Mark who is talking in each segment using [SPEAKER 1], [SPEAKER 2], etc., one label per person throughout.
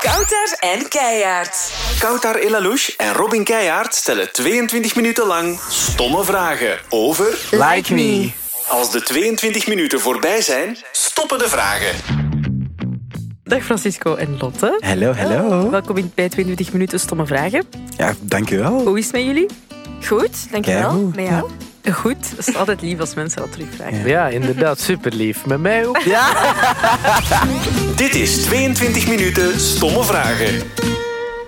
[SPEAKER 1] Kouter en Keijaard.
[SPEAKER 2] Koutar Elalouche en Robin Keijaard stellen 22 minuten lang stomme vragen over...
[SPEAKER 3] Like me.
[SPEAKER 2] Als de 22 minuten voorbij zijn, stoppen de vragen.
[SPEAKER 4] Dag Francisco en Lotte. Oh,
[SPEAKER 3] Hallo, hallo.
[SPEAKER 4] Welkom in bij 22 minuten stomme vragen.
[SPEAKER 3] Ja, dankjewel.
[SPEAKER 4] Hoe is het met jullie?
[SPEAKER 5] Goed, dankjewel.
[SPEAKER 3] Keigoed.
[SPEAKER 5] Met jou?
[SPEAKER 4] Goed. Het is altijd lief als mensen dat terugvragen.
[SPEAKER 6] Ja, inderdaad, super lief. Met mij ook.
[SPEAKER 2] Dit is 22 minuten stomme vragen.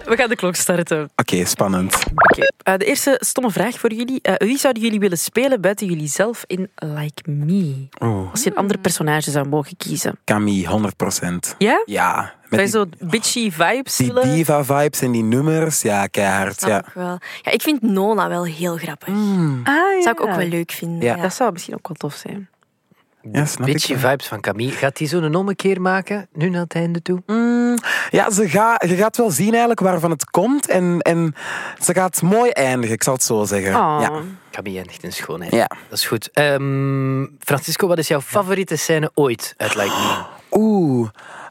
[SPEAKER 4] We gaan de klok starten.
[SPEAKER 3] Oké, spannend.
[SPEAKER 4] Oké. Eh, de eerste stomme vraag voor jullie. Eh, wie zouden jullie willen spelen buiten jullie zelf in Like Me?
[SPEAKER 3] Oeh,
[SPEAKER 4] Als je een ander personage zou mogen kiezen.
[SPEAKER 3] Oh. Camille, 100%.
[SPEAKER 4] Ja?
[SPEAKER 3] Ja,
[SPEAKER 4] Zou je
[SPEAKER 3] met die,
[SPEAKER 4] zo bitchy vibes
[SPEAKER 3] die
[SPEAKER 4] willen?
[SPEAKER 3] diva-vibes en die nummers. Ja, keihard.
[SPEAKER 5] Snap
[SPEAKER 3] Ja. Mm.
[SPEAKER 5] ik wel. Ja, ik vind Nona wel heel grappig.
[SPEAKER 4] Ah, ja.
[SPEAKER 5] Zou ik ook wel leuk vinden.
[SPEAKER 3] Ja.
[SPEAKER 5] Ja.
[SPEAKER 4] Dat zou misschien ook wel tof zijn.
[SPEAKER 3] ja, snap ik
[SPEAKER 6] Beetje
[SPEAKER 3] wel.
[SPEAKER 6] vibes van Camille. Gaat hij zo'n ommekeer maken, nu naar het einde toe?
[SPEAKER 3] Ja, ze ga, je gaat wel zien eigenlijk waarvan het komt. En, en ze gaat mooi eindigen, ik zal het zo zeggen.
[SPEAKER 4] Oh.
[SPEAKER 3] Ja.
[SPEAKER 6] Camille eindigt in schoonheid.
[SPEAKER 3] Ja.
[SPEAKER 6] Dat is goed. Ehm, Francisco, wat is jouw favoriete scène ooit uit Like Me?
[SPEAKER 3] Oeh.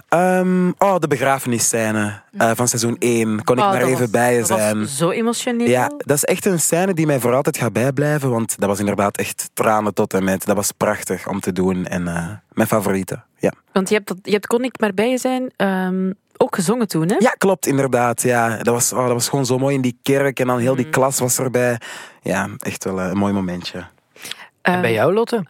[SPEAKER 3] ehm, oh, de begrafenisscène eh, van seizoen 1. Kon ik
[SPEAKER 4] Oh,
[SPEAKER 3] maar
[SPEAKER 4] dat
[SPEAKER 3] even
[SPEAKER 4] was-
[SPEAKER 3] bij je
[SPEAKER 4] dat was
[SPEAKER 3] zijn.
[SPEAKER 4] zo emotioneel.
[SPEAKER 3] Ja, dat is echt een scène die mij voor altijd gaat bijblijven. Want dat was inderdaad echt tranen tot en met. Dat was prachtig om te doen. En eh, mijn favoriete. Ja.
[SPEAKER 4] Want je hebt, dat, je hebt Kon ik maar bij je zijn ehm, ook gezongen toen, hè? Eh,
[SPEAKER 3] ja, klopt inderdaad. Ja. Dat, was, oh, dat was gewoon zo mooi in die kerk. En dan heel
[SPEAKER 4] Mm.
[SPEAKER 3] die klas was erbij. Ja, echt wel eh, een mooi momentje.
[SPEAKER 4] Eh,
[SPEAKER 6] En bij jou, Lotte?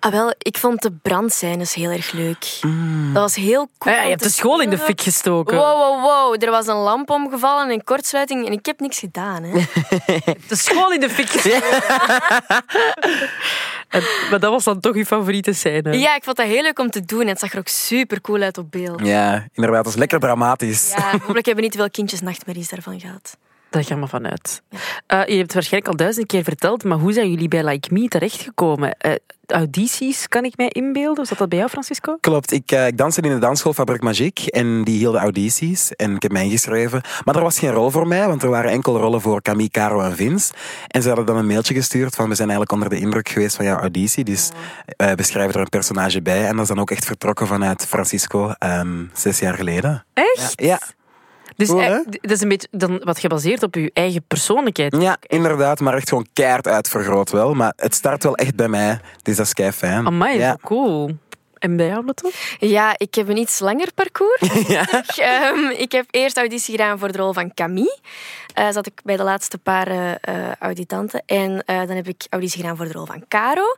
[SPEAKER 5] Ah, wel, ik vond de brandscènes heel erg leuk.
[SPEAKER 3] Mm.
[SPEAKER 5] Dat was heel cool.
[SPEAKER 4] Ah ja, je
[SPEAKER 5] om
[SPEAKER 4] hebt
[SPEAKER 5] te
[SPEAKER 4] de school in de
[SPEAKER 5] spelen.
[SPEAKER 4] fik gestoken.
[SPEAKER 5] Wow, wow, wow. Er was een lamp omgevallen, een kortsluiting en ik heb niks gedaan. Hè.
[SPEAKER 4] De school in de fik gestoken. En- maar dat was dan toch je favoriete scène.
[SPEAKER 5] Ja, ik vond dat heel leuk om te doen. en Het zag er ook super cool uit op beeld.
[SPEAKER 3] Ja, inderdaad. Dat was lekker dramatisch.
[SPEAKER 5] Ja, hopelijk hebben niet te veel kindjes nachtmerries daarvan gehad.
[SPEAKER 4] Daar gaan we vanuit. Eh, je hebt het waarschijnlijk al duizend keer verteld, maar hoe zijn jullie bij Like Me terechtgekomen? Eh, audities, kan ik mij inbeelden? Was dat, dat bij jou, Francisco?
[SPEAKER 3] Klopt, ik, eh, ik danste in de dansschool Fabriek Magiek en die hielden audities en ik heb mij ingeschreven. Maar er was geen rol voor mij, want er waren enkel rollen voor Camille, Caro en Vince. En ze hadden dan een mailtje gestuurd van we zijn eigenlijk onder de indruk geweest van jouw auditie, dus eh, we schrijven er een personage bij. En dat is dan ook echt vertrokken vanuit Francisco, ehm, zes jaar geleden.
[SPEAKER 4] Echt?
[SPEAKER 3] Ja,
[SPEAKER 4] Dus
[SPEAKER 3] Cool,
[SPEAKER 4] eh,
[SPEAKER 3] hè?
[SPEAKER 4] d- dat is een beetje dan wat gebaseerd op je eigen persoonlijkheid.
[SPEAKER 3] ja, inderdaad, maar echt gewoon keihard uitvergroot wel. Maar het start wel echt bij mij, dus dat is kei fijn.
[SPEAKER 4] Amai,
[SPEAKER 3] ja.
[SPEAKER 4] zo cool. En bij jou, Lotte?
[SPEAKER 5] Ja, ik heb een iets langer parcours. Ehm, ik heb eerst auditie gedaan voor de rol van Camille. Eh, zat ik bij de laatste paar eh, eh, auditanten. En eh, dan heb ik auditie gedaan voor de rol van Caro.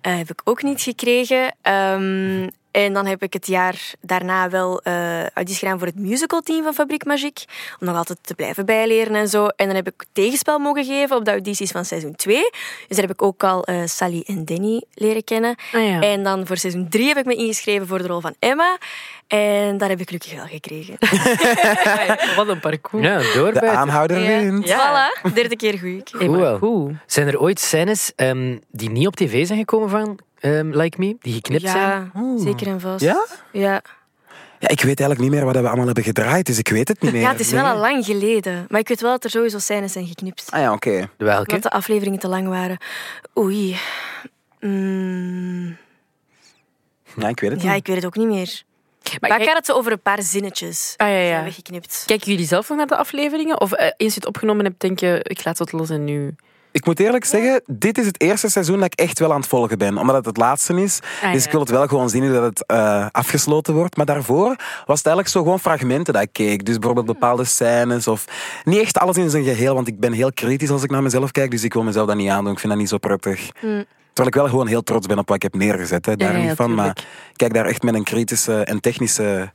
[SPEAKER 5] Eh, heb ik ook niet gekregen. Ehm, en dan heb ik het jaar daarna wel eh auditie gedaan voor het musicalteam van Fabriek Magiek. Om nog altijd te blijven bijleren en zo. En dan heb ik tegenspel mogen geven op de audities van seizoen 2. Dus daar heb ik ook al eh, Sally en Danny leren kennen.
[SPEAKER 4] Ah ja.
[SPEAKER 5] En dan voor seizoen 3 heb ik me ingeschreven voor de rol van Emma. En daar heb ik gelukkig wel gekregen.
[SPEAKER 4] Wat een parcours.
[SPEAKER 6] Ja,
[SPEAKER 3] De
[SPEAKER 6] doorbijten.
[SPEAKER 3] aanhouder wint.
[SPEAKER 4] Ja.
[SPEAKER 5] Voilà, derde keer goed.
[SPEAKER 4] Hey, maar
[SPEAKER 6] Cool.
[SPEAKER 4] cool.
[SPEAKER 6] Zijn er ooit scènes ehm, die niet op tv zijn gekomen van ehm, Like Me? Die geknipt zijn?
[SPEAKER 5] Ja, zeker en vast.
[SPEAKER 3] Ja?
[SPEAKER 5] Ja.
[SPEAKER 3] Ja, ik weet eigenlijk niet meer wat we allemaal hebben gedraaid, dus ik weet het niet meer.
[SPEAKER 5] Ja, het is wel
[SPEAKER 3] Nee.
[SPEAKER 5] al lang geleden. Maar ik weet wel dat er sowieso scènes zijn geknipt.
[SPEAKER 3] Ah ja, oké.
[SPEAKER 6] Welke?
[SPEAKER 5] Omdat de afleveringen te lang waren. Oei. Mm,
[SPEAKER 3] Ja, ik weet het
[SPEAKER 5] ja,
[SPEAKER 3] niet.
[SPEAKER 5] ik weet het ook niet meer. Maar,
[SPEAKER 4] kijk-
[SPEAKER 5] ik had het zo over een paar zinnetjes.
[SPEAKER 4] Ah, ja, ja.
[SPEAKER 5] Zijn weggeknipt.
[SPEAKER 4] Kijken jullie zelf nog naar de afleveringen? Of eh, eens je het opgenomen hebt, denk je, ik laat het los en nu...
[SPEAKER 3] Ik moet eerlijk zeggen, dit is het eerste seizoen dat ik echt wel aan het volgen ben. Omdat het het laatste is.
[SPEAKER 4] Ah, ja.
[SPEAKER 3] Dus ik wil het wel gewoon zien hoe dat het eh, afgesloten wordt. Maar daarvoor was het eigenlijk zo gewoon fragmenten dat ik keek. Dus
[SPEAKER 4] Ah.
[SPEAKER 3] bijvoorbeeld bepaalde scènes of... Niet echt alles in zijn geheel, want ik ben heel kritisch als ik naar mezelf kijk. Dus ik wil mezelf dat niet aandoen. Ik vind dat niet zo prettig. Terwijl ik wel gewoon heel trots ben op wat ik heb neergezet. Hè. Daar
[SPEAKER 4] Mm. ja, ja,
[SPEAKER 3] niet van. Maar
[SPEAKER 4] tuurlijk.
[SPEAKER 3] ik kijk daar echt met een kritische en technische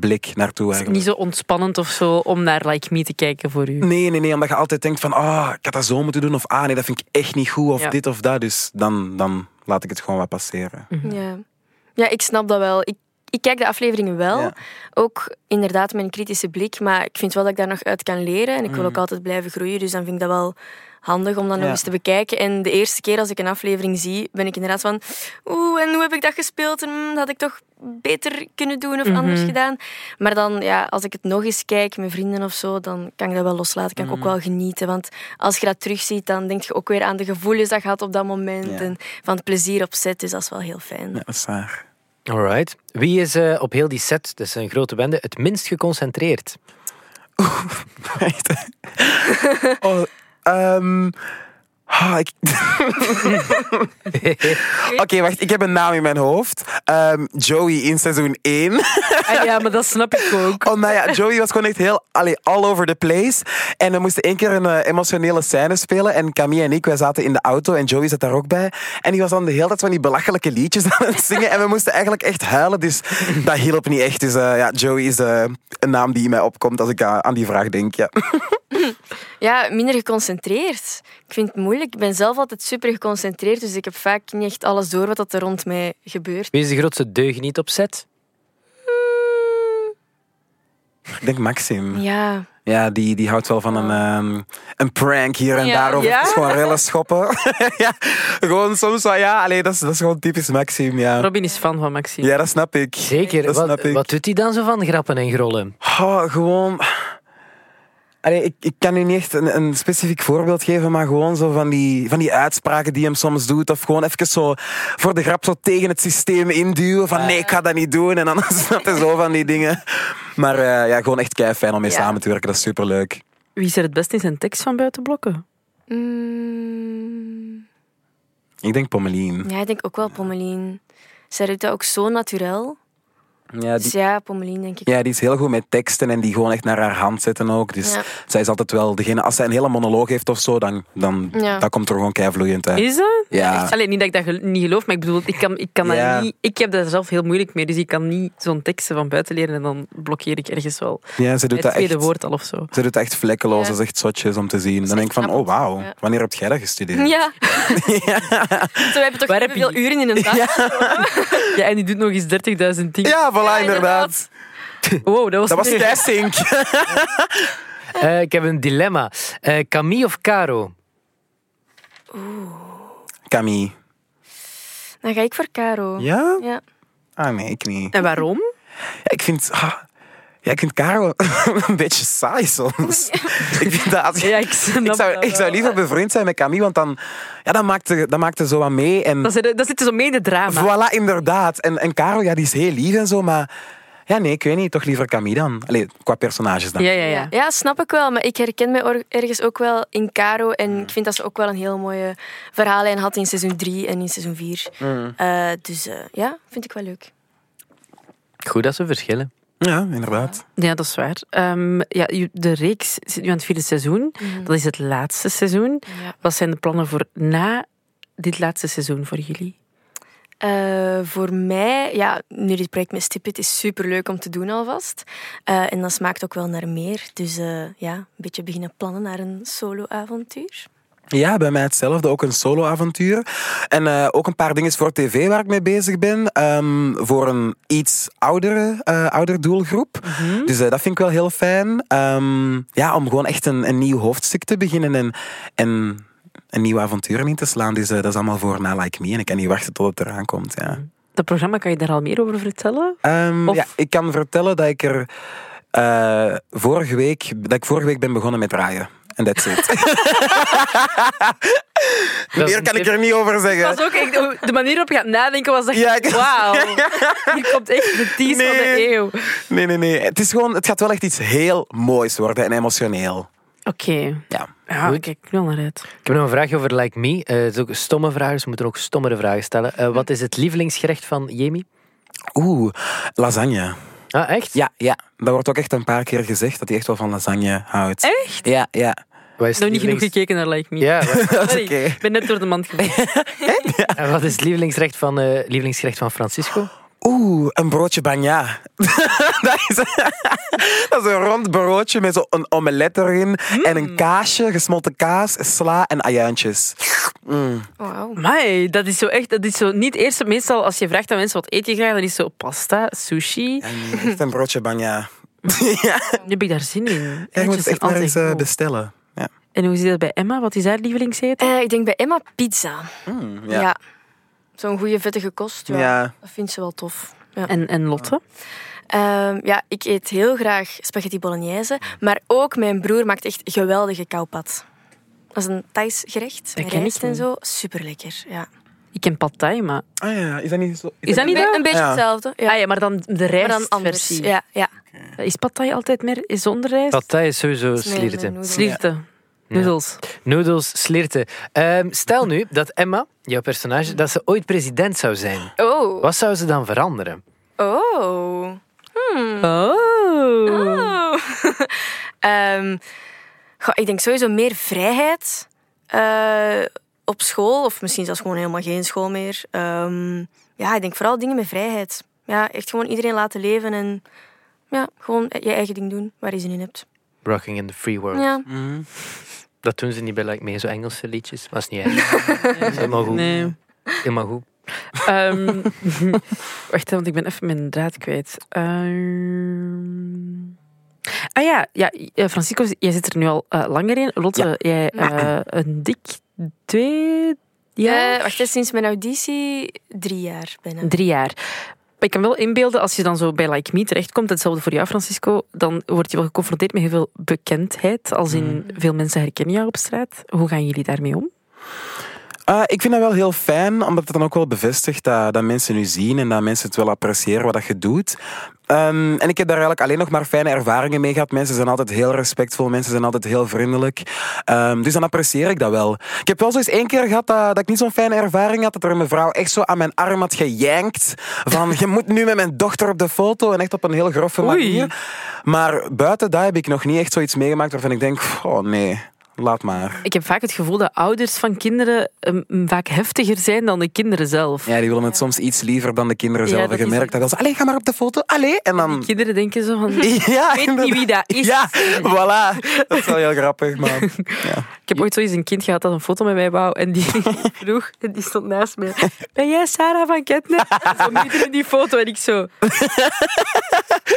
[SPEAKER 3] blik naartoe eigenlijk.
[SPEAKER 4] Dus Niet zo ontspannend of zo om naar Like Me te kijken voor u.
[SPEAKER 3] Nee, nee, nee, omdat je altijd denkt van, ah, ik had dat zo moeten doen, of ah, nee, dat vind ik echt niet goed, of
[SPEAKER 4] Ja.
[SPEAKER 3] dit of dat. Dus dan, dan laat ik het gewoon wat passeren.
[SPEAKER 5] Ja. ja, ik snap dat wel. Ik, ik kijk de afleveringen wel.
[SPEAKER 3] Ja.
[SPEAKER 5] Ook inderdaad met een kritische blik. Maar ik vind wel dat ik daar nog uit kan leren. En ik wil ook altijd blijven groeien. Dus dan vind ik dat wel handig om dat nog
[SPEAKER 3] Mhm. Ja.
[SPEAKER 5] eens te bekijken. En de eerste keer als ik een aflevering zie, ben ik inderdaad van... Oeh, en hoe heb ik dat gespeeld? En mm, dat had ik toch beter kunnen doen of anders gedaan. Maar dan, ja, als ik het nog eens kijk met vrienden of zo, dan kan ik dat wel loslaten. Kan
[SPEAKER 3] Mhm.
[SPEAKER 5] ik ook wel genieten. Want als je dat terugziet, dan denk je ook weer aan de gevoelens dat je had op dat moment.
[SPEAKER 3] Ja.
[SPEAKER 5] En van het plezier op set. Dus dat is wel heel fijn.
[SPEAKER 3] Ja, dat is waar.
[SPEAKER 6] Alright. Wie is eh, op heel die set, dus een grote bende, het minst geconcentreerd?
[SPEAKER 3] Echt. oh, ehm, ah, ik- Oké, wacht. Ik heb een naam in mijn hoofd. Ehm, Joey in seizoen 1.
[SPEAKER 4] Ah ja, maar dat snap ik ook.
[SPEAKER 3] Oh, nou ja, Joey was gewoon echt heel allee, all over the place. En we moesten één keer een eh, emotionele scène spelen. En Camille en ik, wij zaten in de auto en Joey zat daar ook bij. En die was dan de hele tijd van die belachelijke liedjes aan het zingen. En we moesten eigenlijk echt huilen. Dus dat hielp niet echt. Dus eh, ja, Joey is eh, een naam die in mij opkomt als ik eh, aan aan die vraag denk. Ja.
[SPEAKER 5] Ja, minder geconcentreerd. Ik vind het moeilijk. Ik ben zelf altijd super geconcentreerd, dus ik heb vaak niet echt alles door wat dat er rond mij gebeurt.
[SPEAKER 6] Wie is de grootste deugniet op set?
[SPEAKER 3] Ik denk Maxim.
[SPEAKER 5] Ja,
[SPEAKER 3] Ja, die, die houdt wel van een, ehm, een prank hier en
[SPEAKER 5] Ja.
[SPEAKER 3] daar. Of
[SPEAKER 4] Ja?
[SPEAKER 3] het is gewoon rellen schoppen. ja, gewoon soms wel. Ja, allee, dat, is, dat is gewoon typisch Maxim. Ja.
[SPEAKER 4] Robin is fan van Maxime.
[SPEAKER 3] ja, dat snap ik.
[SPEAKER 6] Zeker.
[SPEAKER 3] Dat snap
[SPEAKER 6] wat,
[SPEAKER 3] ik.
[SPEAKER 6] wat doet hij dan zo van grappen en grollen?
[SPEAKER 3] Oh, gewoon. Allee, ik, ik kan nu niet echt een, een specifiek voorbeeld geven, maar gewoon zo van die, van die uitspraken die hem soms doet. Of gewoon even zo voor de grap zo tegen het systeem induwen. Van nee, ik ga dat niet doen. En dan snap je zo van die dingen. Maar eh, ja, gewoon echt kei fijn om mee
[SPEAKER 5] Ja.
[SPEAKER 3] samen te werken. Dat is superleuk.
[SPEAKER 4] Wie is er het best in zijn tekst van buitenblokken?
[SPEAKER 5] Mm,
[SPEAKER 3] Ik denk Pommelien.
[SPEAKER 5] ja ik denk ook wel Pommelien. Zij doet dat ook zo natuurlijk.
[SPEAKER 3] Ja,
[SPEAKER 5] Dus
[SPEAKER 3] die,
[SPEAKER 5] ja, Pommelien denk ik.
[SPEAKER 3] ja, die is heel goed met teksten en die gewoon echt naar haar hand zetten ook. Dus
[SPEAKER 5] Ja.
[SPEAKER 3] zij is altijd wel degene. Als zij een hele monoloog heeft of zo, dan, dan
[SPEAKER 5] Ja.
[SPEAKER 3] dat komt er gewoon kei vloeiend uit.
[SPEAKER 4] Is dat?
[SPEAKER 3] Ja.
[SPEAKER 4] Alleen niet dat ik dat gel- niet geloof, maar ik bedoel, ik, kan, ik, kan
[SPEAKER 3] Ja.
[SPEAKER 4] dat niet, ik heb daar zelf heel moeilijk mee. Dus ik kan niet zo'n teksten van buiten leren en dan blokkeer ik ergens wel
[SPEAKER 3] Ja, ze doet
[SPEAKER 4] het
[SPEAKER 3] dat
[SPEAKER 4] tweede
[SPEAKER 3] echt.
[SPEAKER 4] woord al of zo.
[SPEAKER 3] Ze doet echt vlekkeloos,
[SPEAKER 5] Ja.
[SPEAKER 3] dat is echt zotjes om te zien. Dan
[SPEAKER 5] echt
[SPEAKER 3] denk ik van,
[SPEAKER 5] knap.
[SPEAKER 3] oh wauw,
[SPEAKER 5] Ja.
[SPEAKER 3] wanneer heb jij dat gestudeerd?
[SPEAKER 5] Ja. Zo, we hebben toch
[SPEAKER 4] Waar heb
[SPEAKER 5] veel
[SPEAKER 4] je-
[SPEAKER 5] uren in een dag.
[SPEAKER 4] Ja, en die doet nog eens 30.000 dingen.
[SPEAKER 3] Ja, voilà,
[SPEAKER 5] Ja,
[SPEAKER 3] inderdaad.
[SPEAKER 4] Wow, dat was,
[SPEAKER 3] Dat was
[SPEAKER 4] meer-
[SPEAKER 3] Tessink.
[SPEAKER 6] Eh, ik heb een dilemma. Eh Camille of Caro?
[SPEAKER 3] Camille.
[SPEAKER 5] Dan ga ik voor Caro.
[SPEAKER 3] Ja?
[SPEAKER 5] Ja.
[SPEAKER 3] Ah nee, ik niet.
[SPEAKER 4] En waarom?
[SPEAKER 3] Ja, ik vind... ah, ja, ik vind Karel een beetje saai soms. ik vind dat... als-
[SPEAKER 4] Ja, ik snap
[SPEAKER 3] ik zou,
[SPEAKER 4] dat
[SPEAKER 3] ik zou
[SPEAKER 4] wel.
[SPEAKER 3] liever bevriend zijn met Camille, want dan, ja, dan maakt ze dan maakt ze zo wat mee. En
[SPEAKER 4] Dat, zit- dat zit zo mee in het drama.
[SPEAKER 3] voilà, inderdaad. En, en Karel, ja, die is heel lief en zo, maar... Ja, nee, ik weet niet. Toch liever Camille dan. Allee, qua personages dan.
[SPEAKER 4] Ja, ja,
[SPEAKER 5] Ja.
[SPEAKER 4] ja.
[SPEAKER 5] ja, snap ik wel. Maar ik herken mij or- ergens ook wel in Caro. En ik vind dat ze ook wel een heel mooie verhaallijn had in seizoen 3 en in seizoen 4. dus eh, ja, vind ik wel leuk.
[SPEAKER 6] Goed dat ze verschillen.
[SPEAKER 3] Ja, inderdaad.
[SPEAKER 4] Ja, dat is waar. Ehm, ja, je- de reeks zit nu aan het vierde seizoen. Dat is het laatste seizoen.
[SPEAKER 5] Ja.
[SPEAKER 4] Wat zijn de plannen voor na dit laatste seizoen voor jullie?
[SPEAKER 5] Eh, voor mij, ja, nu dit project met Stipit is super leuk om te doen alvast. Eh, en dat smaakt ook wel naar meer. Dus eh, ja, een beetje beginnen plannen naar een solo-avontuur.
[SPEAKER 3] Ja, bij mij hetzelfde. Ook een solo-avontuur. En eh, ook een paar dingen voor tv waar ik mee bezig ben. Ehm, voor een iets oudere, eh ouder doelgroep. Dus eh, dat vind ik wel heel fijn. Ehm, ja, om gewoon echt een, een nieuw hoofdstuk te beginnen en, en een nieuw avontuur in te slaan. Dus eh, dat is allemaal voor na Like Me. En ik kan niet wachten tot het eraan komt. Ja.
[SPEAKER 4] Dat programma, kan je daar al meer over vertellen?
[SPEAKER 3] Ehm,
[SPEAKER 4] Of-
[SPEAKER 3] ja, ik kan vertellen dat ik er eh, vorige week, dat ik vorige week ben begonnen met draaien. En that's it.
[SPEAKER 6] Dat is
[SPEAKER 3] Meer
[SPEAKER 6] een
[SPEAKER 3] kan ik
[SPEAKER 6] tip.
[SPEAKER 3] er niet over zeggen.
[SPEAKER 4] Dat was ook echt, de manier waarop je gaat nadenken was echt,
[SPEAKER 3] Ja, ik-
[SPEAKER 4] wauw. Hier komt echt de tease van de
[SPEAKER 3] Nee.
[SPEAKER 4] eeuw. Oké.
[SPEAKER 3] Nee, nee, nee. Het, is gewoon, het gaat wel echt iets heel moois worden en emotioneel. Ja.
[SPEAKER 4] Ja, kijk, ik wil naar uit.
[SPEAKER 6] Ik heb nog een vraagje over Like Me. Eh, het is ook een stomme vraag, dus we moeten ook stommere vragen stellen. Eh, wat is het lievelingsgerecht van Jamie?
[SPEAKER 3] Oeh, lasagne.
[SPEAKER 6] Ah, echt?
[SPEAKER 3] Ja, ja. Dat wordt ook echt een paar keer gezegd dat hij echt wel van lasagne houdt.
[SPEAKER 4] Echt?
[SPEAKER 3] Ja, ja.
[SPEAKER 6] Wat is
[SPEAKER 4] Ik heb nog niet genoeg
[SPEAKER 6] lievelingsgerecht?
[SPEAKER 4] gekeken naar Like Me.
[SPEAKER 6] Ja, wat,
[SPEAKER 3] Dat is
[SPEAKER 4] Sorry,
[SPEAKER 3] oké.
[SPEAKER 4] Ik ben net door de mand gevallen.
[SPEAKER 6] en wat is het lievelingsgerecht van, eh, lievelingsgerecht van Francisco?
[SPEAKER 3] Oeh, een broodje bagna. dat, is, dat is een rond broodje met zo'n omelet erin.
[SPEAKER 4] Mm.
[SPEAKER 3] En een kaasje, gesmolten kaas, sla en ajuintjes.
[SPEAKER 5] Wauw.
[SPEAKER 4] Amai, dat is zo echt, dat is zo niet eerst. Meestal als je vraagt aan mensen wat eet je graag, dan is zo pasta, sushi.
[SPEAKER 3] En echt een broodje bagna.
[SPEAKER 4] Nu heb ik daar zin in.
[SPEAKER 3] Ja, je moet
[SPEAKER 4] Eitjes
[SPEAKER 3] het
[SPEAKER 4] zijn
[SPEAKER 3] echt maar
[SPEAKER 4] altijd
[SPEAKER 3] eens eh,
[SPEAKER 4] goed.
[SPEAKER 3] bestellen. Ja.
[SPEAKER 4] En hoe zit dat bij Emma? Wat is haar lievelingseten?
[SPEAKER 5] Eh, ik denk bij Emma pizza.
[SPEAKER 3] ja.
[SPEAKER 5] Mm, ja. Zo'n goede vettige kost. Ja.
[SPEAKER 3] Ja.
[SPEAKER 5] Dat vindt ze wel tof. Ja.
[SPEAKER 4] En, en Lotte?
[SPEAKER 5] Ehm, ja, ik eet heel graag spaghetti bolognese. Maar ook mijn broer maakt echt geweldige kauwpad. Dat is een Thais gerecht. met
[SPEAKER 4] ken ik
[SPEAKER 5] rijst en
[SPEAKER 4] niet.
[SPEAKER 5] zo. Super lekker. Ja.
[SPEAKER 4] Ik ken Pad Thai, maar...
[SPEAKER 3] Ah ja, is dat niet zo...
[SPEAKER 4] Is dat niet
[SPEAKER 5] Een,
[SPEAKER 4] dat?
[SPEAKER 5] be- een beetje
[SPEAKER 3] Ja.
[SPEAKER 5] hetzelfde. Ja.
[SPEAKER 4] Ah ja, maar dan de
[SPEAKER 5] maar dan anders.
[SPEAKER 4] rijstversie.
[SPEAKER 5] Ja, ja.
[SPEAKER 4] Is Pad Thai altijd meer zonder rijst?
[SPEAKER 6] Partij is sowieso
[SPEAKER 5] Smeren
[SPEAKER 6] slierten.
[SPEAKER 5] en noedels.
[SPEAKER 4] Slierten. Noedels.
[SPEAKER 6] Noodles slierten. Ehm, stel nu dat Emma, jouw personage, dat ze ooit president zou zijn.
[SPEAKER 5] Oh.
[SPEAKER 6] Wat zou ze dan veranderen?
[SPEAKER 5] Oh.
[SPEAKER 4] Oh.
[SPEAKER 5] Oh. Ehm, goh, ik denk sowieso meer vrijheid eh, op school. Of misschien zelfs gewoon helemaal geen school meer. Ehm, ja, ik denk vooral dingen met vrijheid. Ja, echt gewoon iedereen laten leven en ja, gewoon je eigen ding doen waar je zin in hebt.
[SPEAKER 6] Rocking in the free world.
[SPEAKER 5] Ja.
[SPEAKER 6] Dat doen ze niet bij Like Me, zo Engelse liedjes. Maar is niet erg. Dat is helemaal goed.
[SPEAKER 4] Nee.
[SPEAKER 6] Helemaal goed.
[SPEAKER 4] Ehm, wacht, want ik ben even mijn draad kwijt. Ehm, ah ja, ja, eh, Francisco, jij zit er nu al eh, langer in. Lotte, jij eh, een dik twee jaar?
[SPEAKER 5] Eh, wacht, hè, sinds mijn auditie drie jaar bijna.
[SPEAKER 4] Drie jaar. Maar ik kan wel inbeelden, als je dan zo bij Like Me terechtkomt, hetzelfde voor jou, Francisco, dan word je wel geconfronteerd met heel veel bekendheid, als in veel mensen herkennen jou op straat. Hoe gaan jullie daarmee om?
[SPEAKER 3] Eh, ik vind dat wel heel fijn, omdat het dan ook wel bevestigt dat, dat mensen nu zien en dat mensen het wel appreciëren wat dat je doet. Ehm, en ik heb daar eigenlijk alleen nog maar fijne ervaringen mee gehad. Mensen zijn altijd heel respectvol, mensen zijn altijd heel vriendelijk. Ehm, dus dan apprecieer ik dat wel. Ik heb wel zo eens één keer gehad dat, dat ik niet zo'n fijne ervaring had, dat er een vrouw echt zo aan mijn arm had gejankt. Van, je moet nu met mijn dochter op de foto en echt op een heel grove manier. Maar buiten dat heb ik nog niet echt zoiets meegemaakt waarvan ik denk, oh nee, laat maar.
[SPEAKER 4] Ik heb vaak het gevoel dat ouders van kinderen ehm, vaak heftiger zijn dan de kinderen zelf.
[SPEAKER 3] Ja, die willen het soms iets liever dan de kinderen
[SPEAKER 4] Ja,
[SPEAKER 3] zelf.
[SPEAKER 4] dat
[SPEAKER 3] je
[SPEAKER 4] is
[SPEAKER 3] merkt dat wel. Allee, ga maar op de foto. Allee. En dan...
[SPEAKER 4] Kinderen denken zo van... Ik
[SPEAKER 3] Ja,
[SPEAKER 4] weet niet wie dat is.
[SPEAKER 3] Ja, voilà. Dat is wel heel grappig, maar...
[SPEAKER 4] heb ooit zoiets een kind gehad dat een foto met mij wou. En die vroeg, en die stond naast mij. Ben jij Sarah van Ketner? Zo midden in die foto. En ik zo...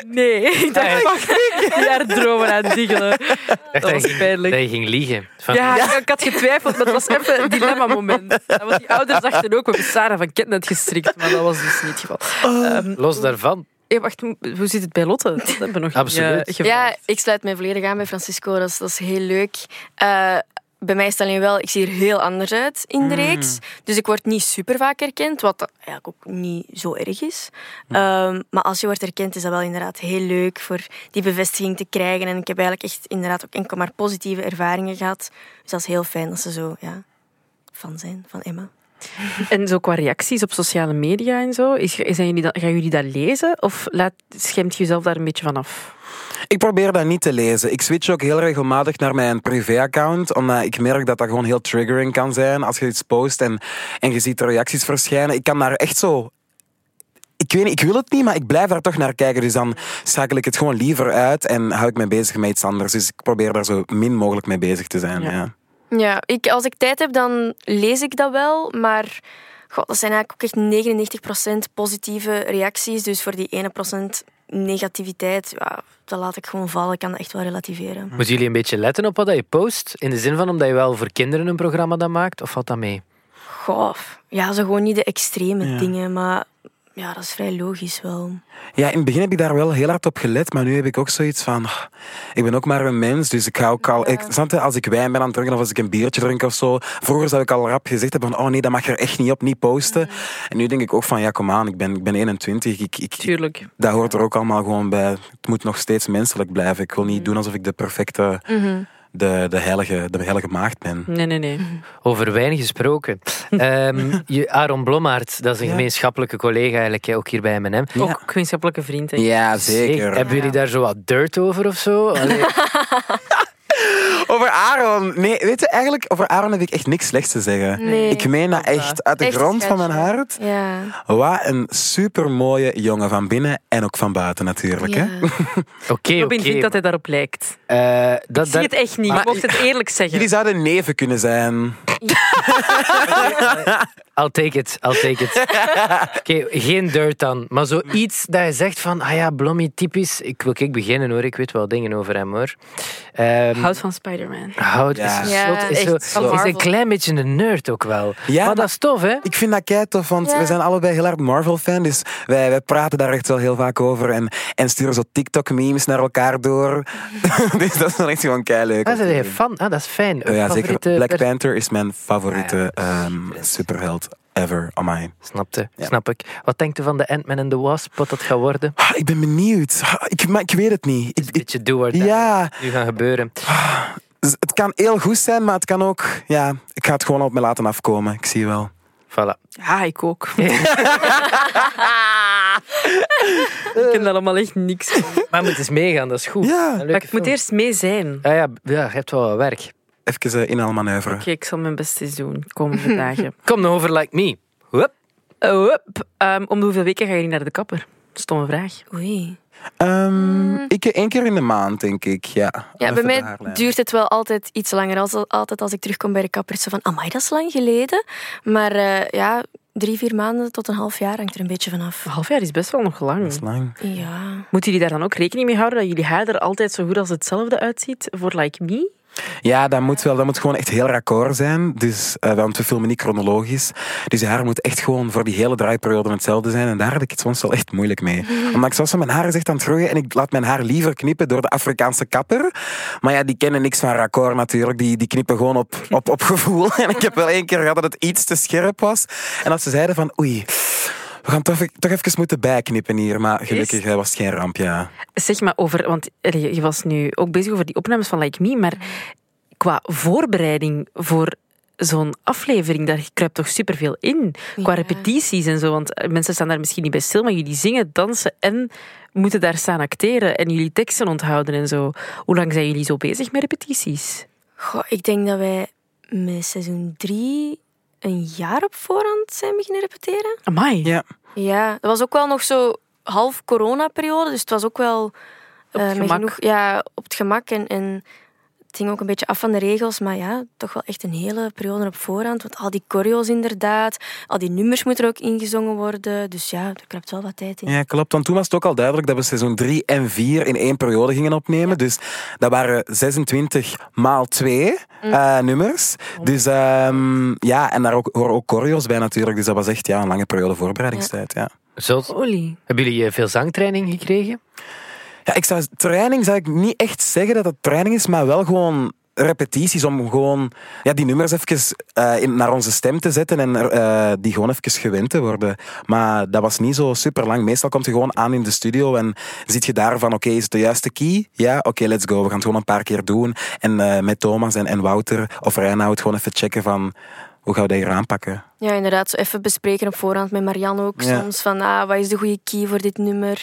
[SPEAKER 4] Nee. Ik dacht, mag ik? Daar dromen aan diggelen.
[SPEAKER 6] Echt,
[SPEAKER 4] Dat
[SPEAKER 6] hij
[SPEAKER 4] was
[SPEAKER 6] ging-
[SPEAKER 4] pijnlijk.
[SPEAKER 6] Dat je ging liegen. Van,
[SPEAKER 4] Ja, ik had getwijfeld, maar het was even een dilemma-moment. Want die ouders dachten ook, we hebben Sarah van Ketnet gestrikt. Maar dat was dus niet het geval. Ehm,
[SPEAKER 6] Los daarvan.
[SPEAKER 4] eh, wacht, hoe zit het bij Lotte? Dat hebben we nog
[SPEAKER 6] Absoluut.
[SPEAKER 4] niet eh,
[SPEAKER 5] Ja, ik sluit mij volledig aan bij Francisco. Dat is, dat is heel leuk. Eh, bij mij is het alleen wel, ik zie er heel anders uit in de reeks. Dus ik word niet super vaak herkend, wat dat eigenlijk ook niet zo erg is. Ehm, maar als je wordt herkend, is dat wel inderdaad heel leuk voor die bevestiging te krijgen. En ik heb eigenlijk echt inderdaad ook enkel maar positieve ervaringen gehad. Dus dat is heel fijn dat ze zo ja, fan zijn van Emma.
[SPEAKER 4] En zo qua reacties op sociale media en zo, is, zijn jullie dat, gaan jullie dat lezen? Of laat, schermt je jezelf daar een beetje van af?
[SPEAKER 3] Ik probeer dat niet te lezen. Ik switch ook heel regelmatig naar mijn privé-account, omdat ik merk dat dat gewoon heel triggering kan zijn als je iets post en, en je ziet de reacties verschijnen. Ik kan daar echt zo... Ik weet niet, ik wil het niet, maar ik blijf daar toch naar kijken. Dus dan schakel ik het gewoon liever uit en hou ik me bezig met iets anders. Dus ik probeer daar zo min mogelijk mee bezig te zijn,
[SPEAKER 4] Ja.
[SPEAKER 3] ja.
[SPEAKER 5] Ja, ik, als ik tijd heb, dan lees ik dat wel. Maar god, dat zijn eigenlijk ook echt 99% positieve reacties. Dus voor die 1% negativiteit, ja, dat laat ik gewoon vallen. Ik kan dat echt wel relativeren.
[SPEAKER 6] Moeten jullie een beetje letten op wat je post? In de zin van omdat je wel voor kinderen een programma dat maakt? Of valt dat mee?
[SPEAKER 5] Goh, ja, zo gewoon niet de extreme dingen. Maar ja, dat is vrij logisch wel.
[SPEAKER 3] Ja, in het begin heb ik daar wel heel hard op gelet, maar nu heb ik ook zoiets van... "Ah, Ik ben ook maar een mens, dus ik ga ook al... Ik, snap je, als ik wijn ben aan het drinken of als ik een biertje drink of zo... Vroeger zou ik al rap gezegd hebben van... Oh nee, dat mag je er echt niet op, niet posten.
[SPEAKER 4] Mm.
[SPEAKER 3] En nu denk ik ook van... Ja, kom aan, ik ben, ik ben 21. Ik, ik,
[SPEAKER 4] Tuurlijk.
[SPEAKER 3] dat hoort er ook allemaal gewoon bij. Het moet nog steeds menselijk blijven. Ik wil
[SPEAKER 4] Mm.
[SPEAKER 3] niet doen alsof ik de perfecte...
[SPEAKER 4] Mhm.
[SPEAKER 3] De, de, heilige, de heilige maagd ben.
[SPEAKER 4] Nee, nee, nee.
[SPEAKER 6] Over wijn gesproken. Ehm, je, Aaron Blommaert, dat is een
[SPEAKER 3] Ja.
[SPEAKER 6] gemeenschappelijke collega eigenlijk, hè, ook hier bij M&M.
[SPEAKER 4] Ook gemeenschappelijke vriend. hè.
[SPEAKER 3] Ja,
[SPEAKER 6] Zeg, Hebben jullie daar zo wat dirt over of zo? Allee,
[SPEAKER 3] Over Aaron. Nee, weet je, eigenlijk over Aaron heb ik echt niks slechts te zeggen.
[SPEAKER 5] Nee.
[SPEAKER 3] Ik meen dat echt uit de
[SPEAKER 5] Echt
[SPEAKER 3] grond van mijn
[SPEAKER 5] schatje.
[SPEAKER 3] hart.
[SPEAKER 5] Ja.
[SPEAKER 3] Wat een supermooie jongen van binnen en ook van buiten natuurlijk. Hè?
[SPEAKER 5] ja.
[SPEAKER 6] Oké,
[SPEAKER 4] Robin
[SPEAKER 6] oké.
[SPEAKER 4] vindt dat hij daarop lijkt.
[SPEAKER 6] Eh, dat-
[SPEAKER 4] Ik zie
[SPEAKER 6] dat-
[SPEAKER 4] het echt niet. Je mocht het eerlijk zeggen.
[SPEAKER 3] Jullie zouden neven kunnen zijn.
[SPEAKER 6] I'll take it, I'll take it. Oké, geen dirt dan. Maar
[SPEAKER 4] Hmm.
[SPEAKER 6] zoiets dat je zegt van, ah ja, Blommy, typisch. Ik wil kijk beginnen hoor, ik weet wel dingen over hem hoor. Ehm,
[SPEAKER 4] Houdt Hm. van Spider-Man.
[SPEAKER 6] Hout is,
[SPEAKER 3] Ja.
[SPEAKER 6] een
[SPEAKER 5] Ja,
[SPEAKER 6] slot, is,
[SPEAKER 5] echt
[SPEAKER 6] zo,
[SPEAKER 5] van
[SPEAKER 6] is een
[SPEAKER 5] Marvel.
[SPEAKER 6] klein beetje een nerd ook wel.
[SPEAKER 3] Ja,
[SPEAKER 6] maar
[SPEAKER 3] maar-
[SPEAKER 6] dat is tof, hè?
[SPEAKER 3] Ik vind dat kei tof, want we zijn allebei heel hard Marvel-fan. Dus wij, wij praten daar echt wel heel vaak over. En, en sturen zo TikTok-memes naar elkaar door. dus dat is dan echt gewoon kei leuk.
[SPEAKER 6] Ah, zijn jij fan? Ah, dat is fijn.
[SPEAKER 3] Oh ja, zeker.
[SPEAKER 6] Favoriete
[SPEAKER 3] Black
[SPEAKER 6] pers-
[SPEAKER 3] Panther is mijn favoriete ehm, superheld ever. Amai.
[SPEAKER 6] Snapte, snap ik. Wat denkt u van de Ant-Man en de Wasp, wat dat gaat worden?
[SPEAKER 3] Ah, ik ben benieuwd. Ah, Ik, maar ik weet het niet. Ik,
[SPEAKER 6] Een
[SPEAKER 3] ik-
[SPEAKER 6] beetje do or die.
[SPEAKER 3] ja,
[SPEAKER 6] Nu gaan gebeuren.
[SPEAKER 3] z- het kan heel goed zijn, maar het kan ook... Ja, ik ga het gewoon op me laten afkomen. Ik zie wel.
[SPEAKER 6] Voilà.
[SPEAKER 4] Ja, ik ook. ik ken daar allemaal echt niks van.
[SPEAKER 6] Maar je moet eens meegaan, dat is goed.
[SPEAKER 3] Ja.
[SPEAKER 6] Een leuke
[SPEAKER 4] Maar ik moet
[SPEAKER 6] film.
[SPEAKER 4] eerst mee zijn. Oké,
[SPEAKER 6] Ja, ja, b- ja, je hebt wel wat werk.
[SPEAKER 3] Even eh, inhaalmanoeuvre.
[SPEAKER 4] ik zal mijn best eens doen de komende dagen.
[SPEAKER 6] Kom nou over like me. Hup.
[SPEAKER 4] Eh, hup. Ehm, om de hoeveel weken ga je niet naar de kapper? Stomme vraag.
[SPEAKER 5] Oei.
[SPEAKER 3] Ehm, ik één keer in de maand, denk ik. Ja,
[SPEAKER 5] Mm. Ja,
[SPEAKER 3] Even
[SPEAKER 5] bij
[SPEAKER 3] daar eh,
[SPEAKER 5] mij
[SPEAKER 3] blijven.
[SPEAKER 5] duurt het wel altijd iets langer. Als, altijd als ik terugkom bij de kapper, is het zo van, amai, dat is lang geleden. Maar eh, ja, drie, vier maanden tot een half jaar hangt er een beetje vanaf.
[SPEAKER 4] Een half jaar is best wel nog
[SPEAKER 3] Dat is
[SPEAKER 4] lang.
[SPEAKER 3] lang.
[SPEAKER 5] Ja.
[SPEAKER 4] Moeten jullie daar dan ook rekening mee houden dat jullie haar er altijd zo goed als hetzelfde uitziet voor Like Me?
[SPEAKER 3] Ja, dat moet wel. Dat moet gewoon echt heel raccord zijn. Dus, eh, want we filmen niet chronologisch. Dus je haar moet echt gewoon voor die hele draaiperiode hetzelfde zijn. En daar had ik het soms wel echt moeilijk mee. Omdat ik soms zo mijn haar is echt aan het groeien. En ik laat mijn haar liever knippen door de Afrikaanse kapper. Maar ja, die kennen niks van raccord natuurlijk. Die, die knippen gewoon op, op, op gevoel. En ik heb wel één keer gehad dat het iets te scherp was. En als ze zeiden van oei... We gaan toch, toch even moeten bijknippen hier. Maar gelukkig eh, was het geen ramp, ja.
[SPEAKER 4] Zeg maar over, want eh, je je was nu ook bezig over die opnames van Like Me, maar qua voorbereiding voor zo'n aflevering, daar kruipt toch superveel in. Qua
[SPEAKER 5] Ja.
[SPEAKER 4] repetities en zo, want eh, mensen staan daar misschien niet bij stil, maar jullie zingen, dansen en moeten daar staan acteren en jullie teksten onthouden en zo. Hoe lang zijn jullie zo bezig met repetities?
[SPEAKER 5] Goh, ik denk dat wij met seizoen drie een jaar op voorhand zijn beginnen repeteren.
[SPEAKER 4] Amai.
[SPEAKER 3] Ja.
[SPEAKER 5] Ja, dat was ook wel nog zo half coronaperiode, dus het was ook wel eh,
[SPEAKER 4] het
[SPEAKER 5] met
[SPEAKER 4] gemak.
[SPEAKER 5] genoeg ja, op het gemak en, en het ging ook een beetje af van de regels, maar ja, toch wel echt een hele periode op voorhand, want al die choreo's inderdaad, al die nummers moeten er ook ingezongen worden, dus ja, er kruipt wel wat tijd in.
[SPEAKER 3] Ja, klopt. Want toen was het ook al duidelijk dat we seizoen 3 en 4 in één periode gingen opnemen. Dus dat waren 26 maal 2 nummers. Dus ehm, ja, en daar ook, horen ook choreo's bij natuurlijk. Dus dat was echt ja, een lange periode voorbereidingstijd. Ja.
[SPEAKER 6] Zot.
[SPEAKER 4] Olie.
[SPEAKER 6] Hebben jullie eh, veel zangtraining gekregen?
[SPEAKER 3] Ja, ik zou, training zou ik niet echt zeggen dat het training is, maar wel gewoon repetities om gewoon ja, die nummers even eh, in, naar onze stem te zetten en er, eh, die gewoon even gewend te worden. Maar dat was niet zo super lang. Meestal komt je gewoon aan in de studio en zit je daar van oké, is het de juiste key? Ja, oké, let's go. We gaan het gewoon een paar keer doen. En eh, met Thomas en, en Wouter of Reinoud gewoon even checken van hoe gaan we dat hier aanpakken?
[SPEAKER 5] Ja, inderdaad, zo even bespreken op voorhand met Marianne ook
[SPEAKER 3] Ja.
[SPEAKER 5] soms, van ah, wat is de goede key voor dit nummer?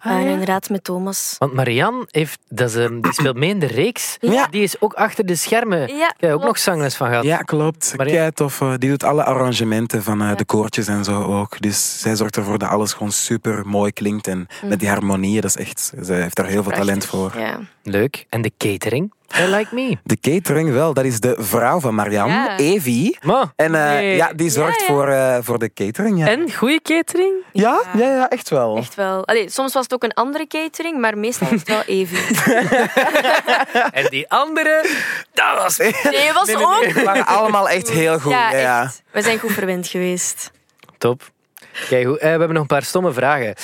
[SPEAKER 5] en inderdaad met Thomas.
[SPEAKER 6] Want Marianne heeft, dat is, ehm, die speelt mee in de reeks.
[SPEAKER 3] Ja.
[SPEAKER 6] Die is ook achter de schermen. Daar
[SPEAKER 5] Ja,
[SPEAKER 6] heb je ook
[SPEAKER 5] klopt.
[SPEAKER 6] nog zangles van gehad.
[SPEAKER 3] Ja, klopt.
[SPEAKER 6] Maar ja-
[SPEAKER 3] Kei tof. eh, Die doet alle arrangementen van eh, de koortjes en zo ook. Dus zij zorgt ervoor dat alles gewoon super mooi klinkt. En met die harmonieën, dat is echt. Zij heeft daar heel veel talent voor.
[SPEAKER 5] Ja.
[SPEAKER 6] Leuk. En de catering? I like me.
[SPEAKER 3] De catering wel, dat is de vrouw van Marianne,
[SPEAKER 5] Ja.
[SPEAKER 3] Evie.
[SPEAKER 6] Maar,
[SPEAKER 3] En eh,
[SPEAKER 4] Nee.
[SPEAKER 3] ja, die zorgt Voor, eh, voor de catering. Ja.
[SPEAKER 4] En goede catering?
[SPEAKER 3] Ja? Ja, ja, echt wel.
[SPEAKER 5] Echt wel. Allee, soms was het ook een andere catering, maar meestal was het wel even.
[SPEAKER 6] en die andere, dat was...
[SPEAKER 5] Nee, was ook.
[SPEAKER 3] Ze waren allemaal echt heel goed. Ja,
[SPEAKER 5] Ja,
[SPEAKER 3] ja.
[SPEAKER 5] echt. We zijn goed verwend geweest.
[SPEAKER 6] Top. Kijk, goed. Eh, we hebben nog een paar stomme vragen.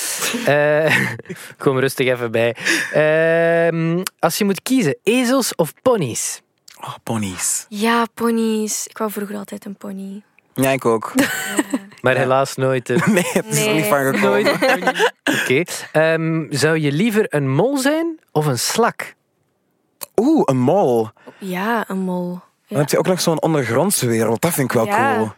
[SPEAKER 6] Eh, kom rustig even bij. Ehm, als je moet kiezen, ezels of ponies?
[SPEAKER 3] Oh, ponies.
[SPEAKER 5] Ja, ponies. Ik wou vroeger altijd een pony.
[SPEAKER 3] Ja, ik ook.
[SPEAKER 6] Maar helaas nooit. eh,
[SPEAKER 3] Nee, het is er
[SPEAKER 5] Nee.
[SPEAKER 3] niet van gekomen.
[SPEAKER 6] Oké. Ehm, zou je liever een mol zijn of een slak?
[SPEAKER 3] Oeh, een mol.
[SPEAKER 5] Ja, een mol.
[SPEAKER 3] Dan heb je ook nog zo'n ondergrondse wereld. Dat vind ik wel
[SPEAKER 5] Ja.
[SPEAKER 3] cool.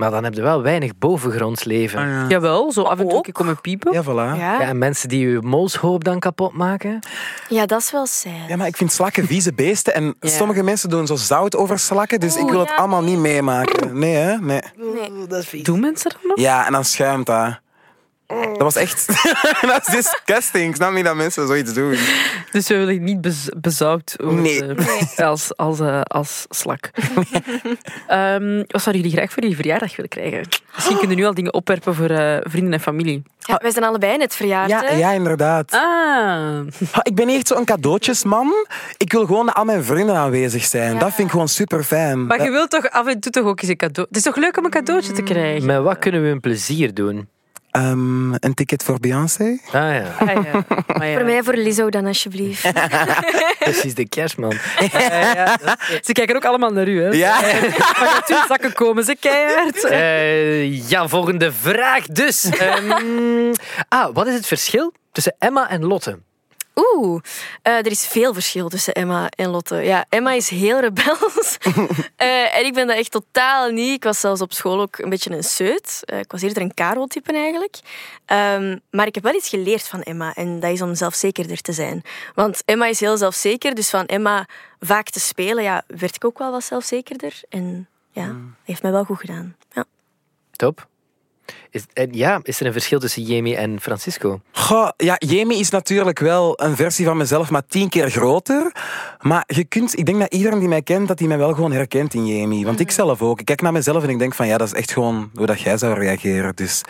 [SPEAKER 6] Maar dan heb je wel weinig bovengronds leven. ja.
[SPEAKER 4] Jawel, zo af en toe een keer komen piepen.
[SPEAKER 3] Ja, voilà.
[SPEAKER 5] Ja.
[SPEAKER 6] en mensen die je molshoop dan kapot maken.
[SPEAKER 5] ja, dat is wel saai.
[SPEAKER 3] Ja, maar ik vind slakken vieze beesten. En sommige mensen doen zo zout over slakken. Dus ik wil het
[SPEAKER 5] ja.
[SPEAKER 3] allemaal niet meemaken. Nee, hè? Nee.
[SPEAKER 4] Doen mensen dat nog?
[SPEAKER 3] Ja, en dan schuimt dat. Dat was echt... dat is disgusting. Ik snap niet dat mensen zoiets doen.
[SPEAKER 4] Dus we willen niet bez bezauwd worden
[SPEAKER 3] Nee.
[SPEAKER 4] als, als, eh, als slak. Ehm, wat zouden jullie graag voor jullie verjaardag willen krijgen? Misschien kunnen we nu al dingen opwerpen voor eh, vrienden en familie.
[SPEAKER 5] Ja, wij zijn allebei net verjaard.
[SPEAKER 3] Ja,
[SPEAKER 5] hè?
[SPEAKER 3] ja inderdaad.
[SPEAKER 4] Ah,
[SPEAKER 3] Ha, Ik ben niet echt zo'n cadeautjesman. Ik wil gewoon dat al mijn vrienden aanwezig zijn. Dat vind ik gewoon super fijn.
[SPEAKER 4] maar je wilt toch af en toe toch ook eens een cadeau... Het is toch leuk om een cadeautje te krijgen?
[SPEAKER 6] Met wat kunnen we een plezier doen?
[SPEAKER 3] Ehm, een ticket voor Beyoncé?
[SPEAKER 6] Ah ja,
[SPEAKER 4] Ah, ja. Maar ja.
[SPEAKER 5] Voor mij voor Lizzo dan, alsjeblieft.
[SPEAKER 6] precies de kerstman.
[SPEAKER 4] Ja, ja. Ze kijken ook allemaal naar u, hè?
[SPEAKER 3] Ja.
[SPEAKER 4] Maar gaat u in zakken komen, ze keihard.
[SPEAKER 6] Eh, ja, volgende vraag dus. Ehm, ah, wat is het verschil tussen Emma en Lotte?
[SPEAKER 5] Oeh, eh, er is veel verschil tussen Emma en Lotte. Ja, Emma is heel rebels. Eh, en ik ben dat echt totaal niet. Ik was zelfs op school ook een beetje een seut. Eh, ik was eerder een Karel-type eigenlijk. Ehm, maar ik heb wel iets geleerd van Emma. En dat is om zelfzekerder te zijn. Want Emma is heel zelfzeker. Dus van Emma vaak te spelen, ja, werd ik ook wel wat zelfzekerder. En ja, dat heeft mij wel goed gedaan. Ja.
[SPEAKER 6] Top. Is, en ja, is er een verschil tussen Jamie en Francisco?
[SPEAKER 3] Goh, ja, Jamie is natuurlijk wel een versie van mezelf, maar tien keer groter. Maar je kunt, ik denk dat iedereen die mij kent, dat die mij wel gewoon herkent in Jamie. Want
[SPEAKER 4] Mhm.
[SPEAKER 3] ik zelf ook. Ik kijk naar mezelf en ik denk van ja, dat is echt gewoon hoe dat jij zou reageren. Dus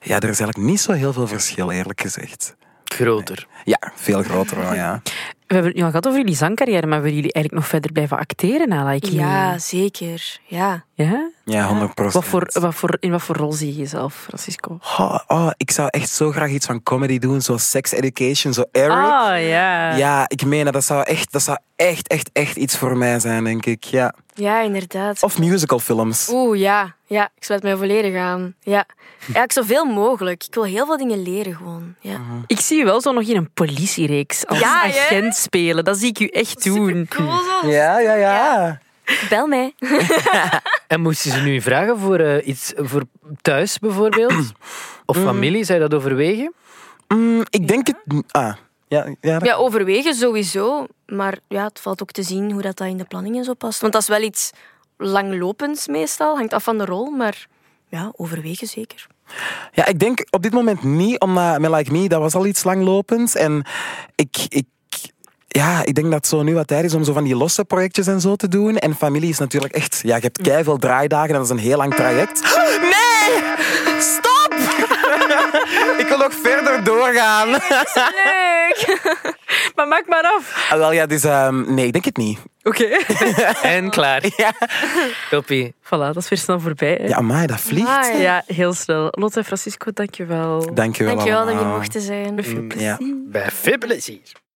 [SPEAKER 3] ja, er is eigenlijk niet zo heel veel verschil, eerlijk gezegd.
[SPEAKER 6] Groter.
[SPEAKER 3] Ja, veel groter wel, ja.
[SPEAKER 4] We hebben het nu al gehad over jullie zangcarrière, maar willen jullie eigenlijk nog verder blijven acteren na Like Me?
[SPEAKER 5] ja, zeker. Ja.
[SPEAKER 4] Ja?
[SPEAKER 3] Ja, 100
[SPEAKER 4] Wat voor, wat voor, in wat voor rol zie je jezelf, Francisco?
[SPEAKER 3] Oh, oh, ik zou echt zo graag iets van comedy doen, zoals Sex Education, zo Eric.
[SPEAKER 4] Ah, ja.
[SPEAKER 3] Ja, ik meen dat. Dat zou, echt, dat zou echt, echt, echt iets voor mij zijn, denk ik. Ja.
[SPEAKER 5] ja, inderdaad.
[SPEAKER 3] Of musicalfilms.
[SPEAKER 5] Oeh, ja. Ja, ik sluit mij volledig aan. Ja. ja, ik zoveel mogelijk. Ik wil heel veel dingen leren gewoon. Ja.
[SPEAKER 4] Ik zie je wel zo nog in een politiereeks als
[SPEAKER 5] Ja, hè?
[SPEAKER 4] agent spelen. Dat zie ik u echt doen.
[SPEAKER 3] Ja, ja, ja.
[SPEAKER 5] Bel mij.
[SPEAKER 6] En moesten ze nu vragen voor eh, iets voor thuis bijvoorbeeld? Of familie? Zou je dat overwegen?
[SPEAKER 3] Mm, ik denk het... Ah, ja, ja, dat-
[SPEAKER 5] Ja, overwegen sowieso. Maar ja, het valt ook te zien hoe dat, dat in de planning en zo past. Want dat is wel iets langlopends meestal. Hangt af van de rol, maar ja, overwegen zeker.
[SPEAKER 3] ja, ik denk op dit moment niet, omdat met Like Me, dat was al iets langlopends. En ik... ik ja, ik denk dat het zo nu wat tijd is om zo van die losse projectjes en zo te doen. En familie is natuurlijk echt... Ja, je hebt keiveel draaidagen en dat is een heel lang traject. Nee! Stop! ik wil nog verder doorgaan.
[SPEAKER 5] Leuk!
[SPEAKER 4] Maar maak maar af.
[SPEAKER 3] Ah, wel ja, dus... ehm, nee, ik denk het niet.
[SPEAKER 4] Oké.
[SPEAKER 6] En klaar. Ja. Toppie.
[SPEAKER 4] Voilà, dat is weer snel voorbij. hè. Ah,
[SPEAKER 3] Ja, maar dat vliegt.
[SPEAKER 5] Amai.
[SPEAKER 4] Ja, heel snel. Lotte en Francisco, dankjewel.
[SPEAKER 3] Dankjewel
[SPEAKER 5] Dankjewel dat
[SPEAKER 3] allemaal.
[SPEAKER 5] jullie mochten zijn.
[SPEAKER 3] Ja.
[SPEAKER 6] Bij veel plezier.